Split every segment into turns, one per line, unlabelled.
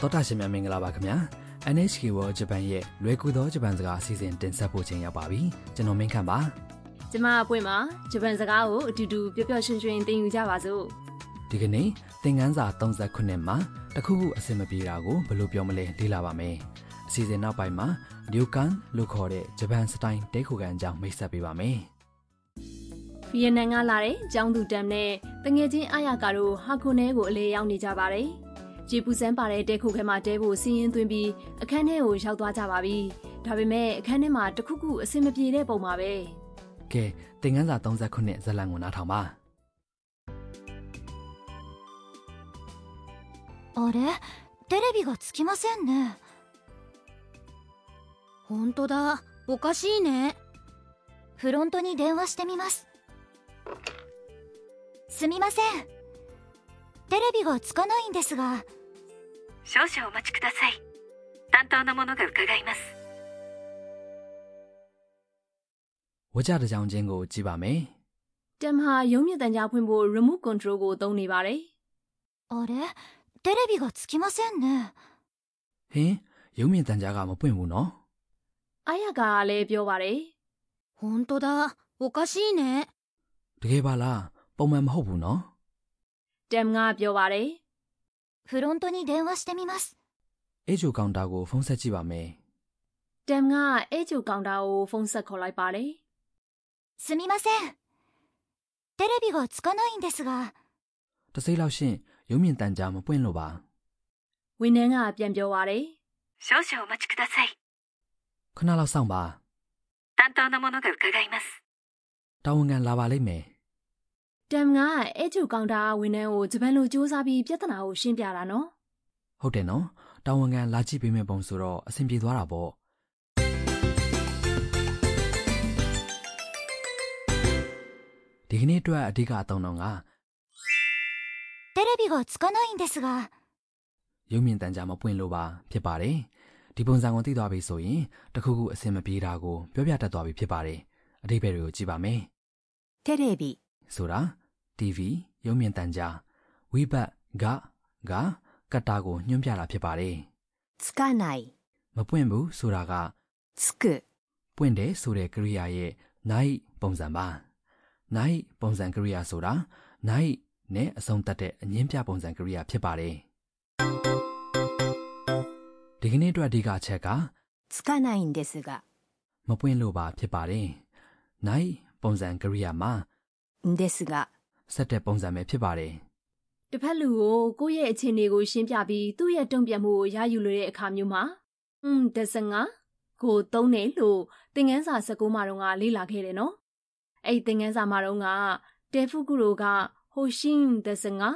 တောတာရှင်များမင်္ဂလာပါခင်ဗျာ NHK World Japan ရဲ့လွယ်ကူသောဂျပန်စကားအစီအစဉ်တင်ဆက်ဖို့ချိန်ရောက်ပါပြီကျွန်တော်မင်းခန့်ပါ
ကျမအပွင့်မှာဂျပန်စကားကိုအတူတူပျော်ပျော်ရွှင်ရွှင်သင်ယူကြပါစို့
ဒီကနေ့သင်ခန်းစာ39မှာတစ်ခုခုအဆင်မပြေတာကိုဘယ်လိုပြောမလဲလေ့လာပါမယ်အစီအစဉ်နောက်ပိုင်းမှာ Ryokan လို့ခေါ်တဲ့ဂျပန်စတိုင်တဲခိုကန်အကြောင်းမိတ်ဆက်ပေးပါမယ်
ဗီယက်နမ်ကလာတဲ့ကျောင်းသူတမ်နဲ့တငယ်ချင်းအာရကာတို့ဟာခွန်နဲကိုအလဲရောက်နေကြပါတယ်ဂျေပူစန်းပါတဲ့တဲခုခဲမှာတဲဖို့စီးရင်သွင်းပြီးအခန်းထဲကိုရောက်သွားကြပါပြီဒါပေမဲ့အခန်းထဲမှာတစ်ခုခုအဆင်မပြေတဲ့ပုံပါပဲ
ကဲသင်ခန်းစာ39ဇာတ်လမ်းကိုနားထောင်ပါ
あれテレビがつきませんね本当だおかしいねフロントに電話してみますすみませんテレビがつかないんですが
少々お待ちください担当の者が伺います
ဝကြတစ်ကြောင်ချင်းကိုကြည့်ပါမယ်
တမ်ဟာရုံးမြင့်တန်ကြားဖွင့်ဖို့ remote control ကိုသုံးနေပါတယ်
あれテレビがつきませんね
ဟင်ရုံမြင့်တန်ကြားကမပွင့်ဘူးနော်
အာရကာကလည်းပြောပါတယ်
本当だおかしいね
တကယ်ပါလားပုံမှန်မဟုတ်ဘူးနော်
တမ်ကပြောပါတယ်
フロントに電話してみます
အေဂျိုကောင်တာကိုဖုန်းဆက်ကြည့်ပါမယ်
တမ်ကအဲ့ကျူကောင်တာကိုဖုန်းဆက်ခေါ်လိုက်ပါတယ်
すみませんテレビがつかないんですが
။တစ်စိမ့်လောက်ရှင့်ရုံမြင့်တန်ကြားမပွင့်လို့ပါ
ဝန်ထမ်းကပြန်ပြောပါတယ်
少々お待ちください
။ခဏလောက်စောင့်ပါ
担当の者が伺います
။တာဝန်ခံလာပါလိမ့်မယ်
။တမ်ကအဲ့ကျူကောင်တာဝန်ထမ်းကိုဂျပန်လိုစူးစမ်းပြီးပြဿနာကိုရှင်းပြတာနော်
။ဟုတ်တယ်နော်။တာဝန်ခံလာကြည့်ပေးမယ့်ပုံဆိုတော့အဆင်ပြေသွားတာပေါ့။ဒီကနေ့အတွက်အဓိကအသုံးတော့က
テレビがつかないんですが
ရုံမြင့်တန်ကြားမပွင့်လို့ပါဖြစ်ပါတယ်။ဒီပုံစံကိုသိသွားပြီဆိုရင်တစ်ခုခုအဆင်မပြေတာကိုပြောပြတတ်သွားပြီဖြစ်ပါတယ်။အဓိပ္ပာယ်တွေကိုကြည့်ပါမယ်။
テレビ
ဆိုတာ TV ရုပ်မြင်သံကြားဝိဘတ်ကကကတ္တာကိုညွှန်ပြတာဖြစ်ပါတယ်
つかない
မပွင့်ဘူးဆိုတာက
つく
ပွင့်တယ်ဆိုတဲ့ကရိယာရဲ့ night ပုံစံပါ night ပုံစံကရိယာဆိုတာ night နဲ့အဆုံးသတ်တဲ့အငင်းပြပုံစံကရိယာဖြစ်ပါတယ်ဒီကနေ့အတွက်အဓိကအချက်က
つかないんですが
မပွင့်လို့ပါဖြစ်ပါတယ် night ပုံစံကရိယာမှာ
ですが
ဆက်တဲ့ပုံစံပဲဖြစ်ပါတယ်
။တစ်ဖက်လူကိုကိုယ့်ရဲ့အခြေအနေကိုရှင်းပြပြီးသူ့ရဲ့တုံ့ပြန်မှုကိုရယူလိုတဲ့အခါမျိုးမှာอืมဒဇငါကိုသုံးတယ်လို့သင်ငန်းစာ19မှာတော့ကလေ့လာခဲ့တယ်နော်။အဲ့ဒီသင်ငန်းစာမှာတော့ကတေဖုကုရိုကဟိုရှင်းဒဇငါ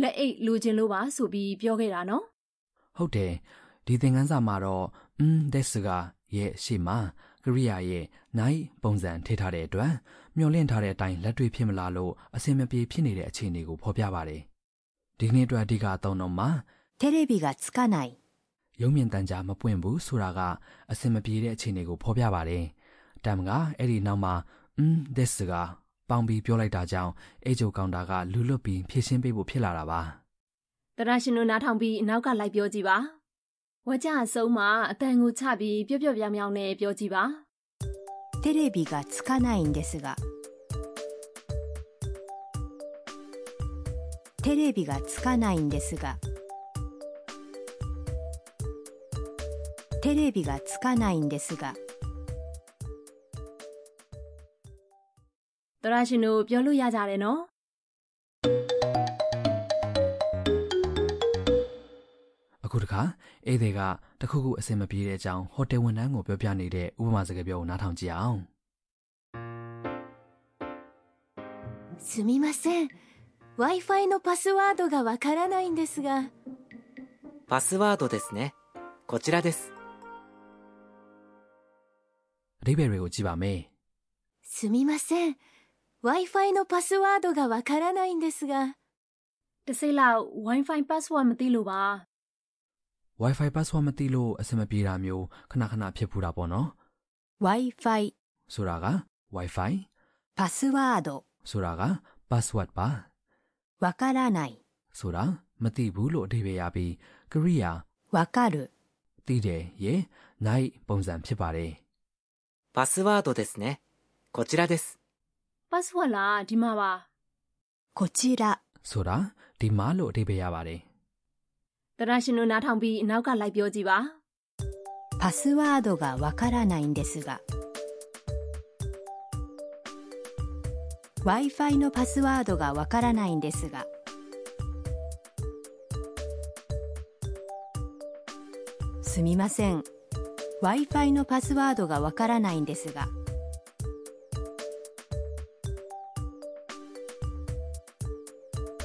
လက်အိတ်လူချင်းလို့ပါဆိုပြီးပြောခဲ့တာနော်
ဟုတ်တယ်ဒီသင်ခန်းစာမှာတော့ mm this ကရဲ့ရှေ့မှာကရိယာရဲ့ night ပုံစံထည့်ထားတဲ့အတွက်မျောလင့်ထားတဲ့အတိုင်းလက်တွေ့ဖြစ်မလားလို့အဆင်မပြေဖြစ်နေတဲ့အခြေအနေကိုဖော်ပြပါတယ်ဒီကနေ့အတွက်အဓိကအသုံးတော့မှာ
テレビがつかない
ရုံမြင့်တန်ကြားမပွင့်ဘူးဆိုတာကအဆင်မပြေတဲ့အခြေအနေကိုဖော်ပြပါတယ်တမ်ကအဲ့ဒီနောက်မှာ mm this ကပေါင်ပြီးပြောလိုက်တာကြောင့်အေဂျိုကောင်တာကလူလွတ်ပြီးဖြည့်ရှင်းပေးဖို့ဖြစ်လာတာပါ
။တရရှင်တို့နားထောင်ပြီးအနောက်ကလိုက်ပြောကြည့်ပါ။ဝါကြအဆုံးမှာအတန်ကိုချပြီးပြပြပြမြောင်နဲ့ပြောကြည့်ပါ။
テレビがつかないんですがテレビがつかないんですがテレビがつかないんですが
တရရှင်တို့ပြောလို့ရကြတယ်နော်
အခုတခါအေးတွေကတခုခုအဆင်မပြေတဲ့အကြောင်းဟိုတယ်ဝန်ထမ်းကိုပြောပြနေတဲ့ဥပမာစကားပြောကိုနားထောင်ကြည့်အောင်
すみません w i f i のパスワードがわからないんですが
パスワードですね。こちらです。
အဓိပ္ပာယ်တွေကိုကြည့်ပါမယ်
すみません w i f i のパスワードがわからないんですが
တစ်စိမ့်လောက် Wi-Fi password မသိလို့ပါ
Wi-Fi password မသိလို့အဆင်မပြေတာမျိုးခဏခဏဖြစ်ပူတာပေါ့နော်
w i f i
ဆိုတာက Wi-Fi
パスワード
ဆိုတာက password ပါ
わからない
ဆိုတာမသိဘူးလို့အဓိပ္ပာယ်ရပြီးကရိယာ
わかる、
သိတယ်ရေနိုင်ပုံစံဖြစ်ပါတယ်
パスワードですね。こちらです。
password လားဒီမှာပါ
こちら、
ဆိုတာဒီမားလို့အဓိပ္ပာယ်ရပါတယ်
တရရှင်တို့နားထောင်ပြီးနောက်ကလိုက်ပြောကြည့်ပါ
パスワードがわからないんですが。Wi-Fi のパスワードがわからないんですが、すみません。Wi-Fi のパスワードがわからないんですが、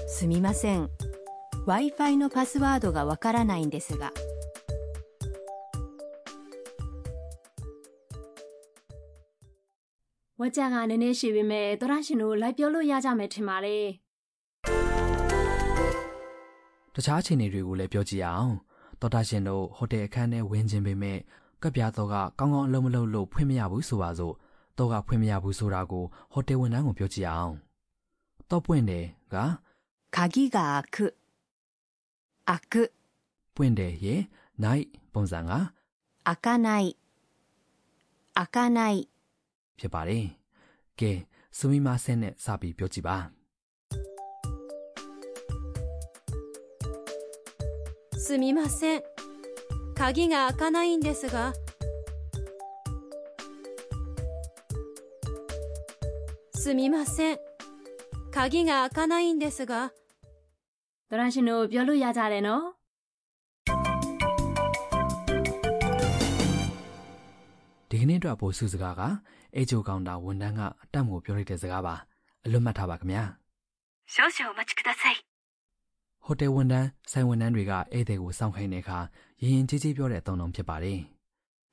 すみません。Wi-Fi のパスワードがわからないんですが。
ဝါကြကနည်းနည်းရှိပေမဲ့တရရှင်တို့လိုက်ပြောလို့ရကြမယ်ထင်ပါတယ်
တခြားအခြေအနေတွေကိုလည်းပြောကြည့်အောင်တော်တာရှင်တို့ဟိုတယ်အခန်းထဲဝင်ခြင်းပေမဲ့ကပ်ပြားတော့ကကောင်းကောင်းအလုပ်မလုပ်လို့ဖွင့်မရဘူးဆိုပါစို့တော့ကဖွင့်မရဘူးဆိုတာကိုဟိုတယ်ဝန်ထမ်းကိုပြောကြည့်အောင်တော့ပွင့်တယ်က
鍵が開く、開く、
ပွင့်တယ်ရေနိုင်ပုံစံက
開かない、開かない、
ဖြစ်ပါတယ်ကဲစမီမာဆန်နဲ့စပြီးပြောကြည့်ပါ
すみません鍵が開かないんですがすみません鍵が開かないんですが
တရရှင်တို့ပြောလို့ရကြတယ်နော်
ဒီကနေ့အတွက်ပို့စုစကားကအေဂျိုကောင်တာဝန်ထမ်းကအတတ်မှုပြောလိုက်တဲ့စကားပါအလွတ်မှတ်ထားပါခင်ဗျာ
少々お待ちください。
ဟိုတယ်ဝန်ထမ်းဆိုင်ဝန်ထမ်းတွေကဧည့်သည်ကိုစောင့်ခိုင်းတဲ့အခါရင်ရင်ကြီးကြီးပြောတဲ့အသုံးအနှုန်းဖြစ်ပါတယ်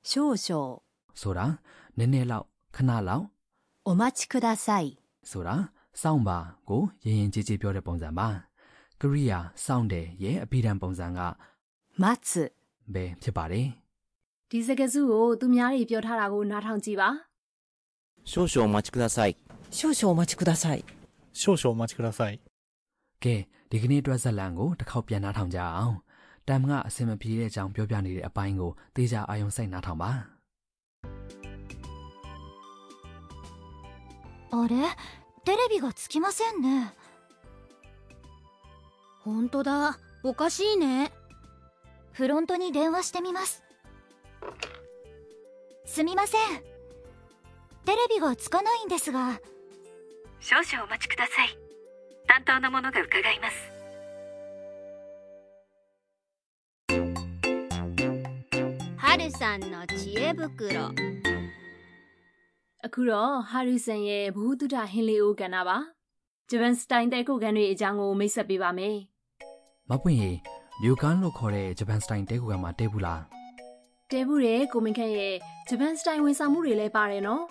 少々、
။ဆိုတာနည်းနည်းလောက်ခဏလောက်
お待ちください、
ဆိုတာစောင့်ပါကိုရင်ရင်ကြီးကြီးပြောတဲ့ပုံစံပါ။ကရိယာစောင့်တယ်ရဲ့အပြီးတန်ပုံစံက
待つ、
ပဲဖြစ်ပါတယ်
ဒီစကားစုကိုသူများတွေပြောထားတာကိုနားထောင်ကြည့်ပါ
少々お待ちください。
少々お待ちください
少々お待ちください。
။ကဲဒီကနေ့အတွက်ဇက်လန်ကိုတစ်ခေါက်ပြန်နှားထောင်ကြအောင်။တမ်ကအစင်မပြေတဲ့အကြောင်းပြောပြနေတဲ့အပိုင်းကိုသေချာအာရုံစိုက်နှားထောင်ပါ
あれテレビがつきませんね本当だおかしいねフロントに電話してみますすみませんテレビがつかないんですが
少々お待ちください。担当の者が伺います。
はるさんの知恵袋
အခုတော့ဟာရီဆန်ရဲ့ဘူတုဒ္ဒဟင်းလေးအိုကန်နာပါဂျပန်စတိုင်တဲ့ကုတ်ကန်တွေအကြောင်းကိုမိတ်ဆက်ပေးပါမယ်
။မပွင့်ရင်မြူကန်လို့ခေါ်တဲ့ဂျပန်စတိုင်တဲကူကမှတဲဘူးလား
တဲဘူးတဲ့ကိုမင်ခန့်ရဲ့ဂျပန်စတိုင်ဝန်ဆောင်မှုတွေလည်းပါတယ်နော်
။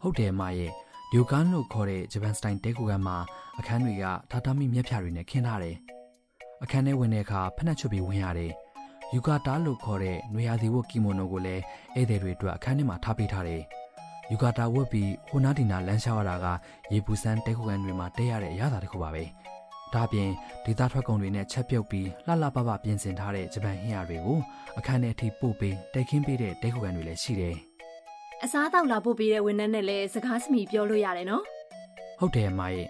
ဟုတ်တယ်အမရဲ့မြူကန်လို့ခေါ်တဲ့ဂျပန်စတိုင်တဲကူကမှအခန်းတွေကထာတာမီမျက်ဖြာတွေနဲ့ခင်းထားတယ်။အခန်းထဲဝင်တဲ့အခါဖက်နှက်ချွတ်ပြီးဝင်ရတယ်။ယူကာတာလို့ခေါ်တဲ့နွေရာသီဝတ်ကီမိုနိုကိုလည်းဧည့်သည်တွေအတွက်အခန်းထဲမှာထားပေးထားတယ်။ယူကာတာဝတ်ပြီးဟိုနာဒီနာလမ်းလျှောက်ရတာကရေပူစမ်းတဲကူကန်တွေမှာတဲရတဲ့အရသာတစ်ခုပါပဲ။ဒါအပြင်ဒေသထွက်ကုန်တွေနဲ့ချက်ပြုတ်ပြီးလှလှပပပြင်ဆင်ထားတဲ့ဂျပန်ဟင်းရတွေကိုအခန်းထဲအထိပို့ပေးတိုက်ခင်းပေးတဲ့တဲကူကန်တွေလည်းရှိတယ်။
အစားအသောက်လာပို့ပေးတဲ့ဝန်ထမ်းနဲ့လည်းစကားစမိပြောလို့ရတယ်နော်
ဟုတ်တယ်အမရဲ့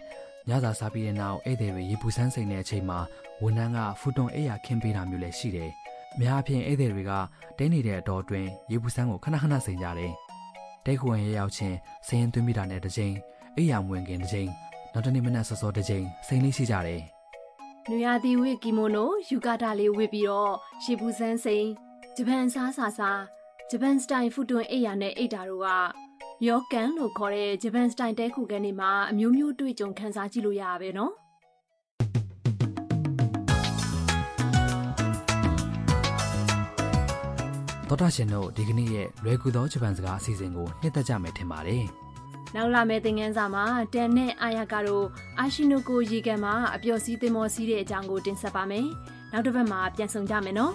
ညစာစားပြီးတဲ့နောက်ဧည့်သည်တွေရေပူစမ်းစိမ်တဲ့အချိန်မှာဝန်ထမ်းကဖူတွန်အိပ်ယာခင်းပေးတာမျိုးလည်းရှိတယ်။အများအားဖြင့်ဧည့်သည်တွေကတဲနေတဲ့အတော်အတွင်းရေပူစမ်းကိုခဏခဏစိမ်ကြတယ်။တဲခွန်ရဲ့ရောက်ချင်းစိမ်ရင်သွင်းမိတာနဲ့တစ်ချိန်အိပ်ယာမဝင်ခင်တစ်ချိန်နောက်တစ်နေ့မနက်စောစောတစ်ချိန်စိမ်လေးရှိကြတယ်
နွေရာသီဝတ်ကီမိုနိုယူကာတာလေးဝတ်ပြီးတော့ရှေဘူးစန်းစိန်ဂျပန်စားစာစားဂျပန်စတိုင်ဖူတွန်အိပ်ယာနဲ့အိပ်တာတို့ကယောကန်လို့ခေါ်တဲ့ဂျပန်စတိုင်တဲခုကန်တွေမှာအမျိုးမျိုးတွေ့ကြုံခန်းစားကြည့်လို့ရတာပဲနော်
။သောတာရှင်တို့ဒီကနေ့ရဲ့လွယ်ကူသောဂျပန်စကားအစီအစဉ်ကိုနှစ်သက်ကြမယ်ထင်ပါတယ်။
နောက်လာမယ့်သင်ခန်းစာမှာတန်နဲ့အာယာကာတို့အာရှိနိုကိုရေကန်မှာအပျော်စီးသင်မောစီးတဲ့အကြောင်းကိုတင်ဆက်ပါမယ်နောက်တစ်ပတ်မှာပြန်ဆောင်ကြမယ်နော်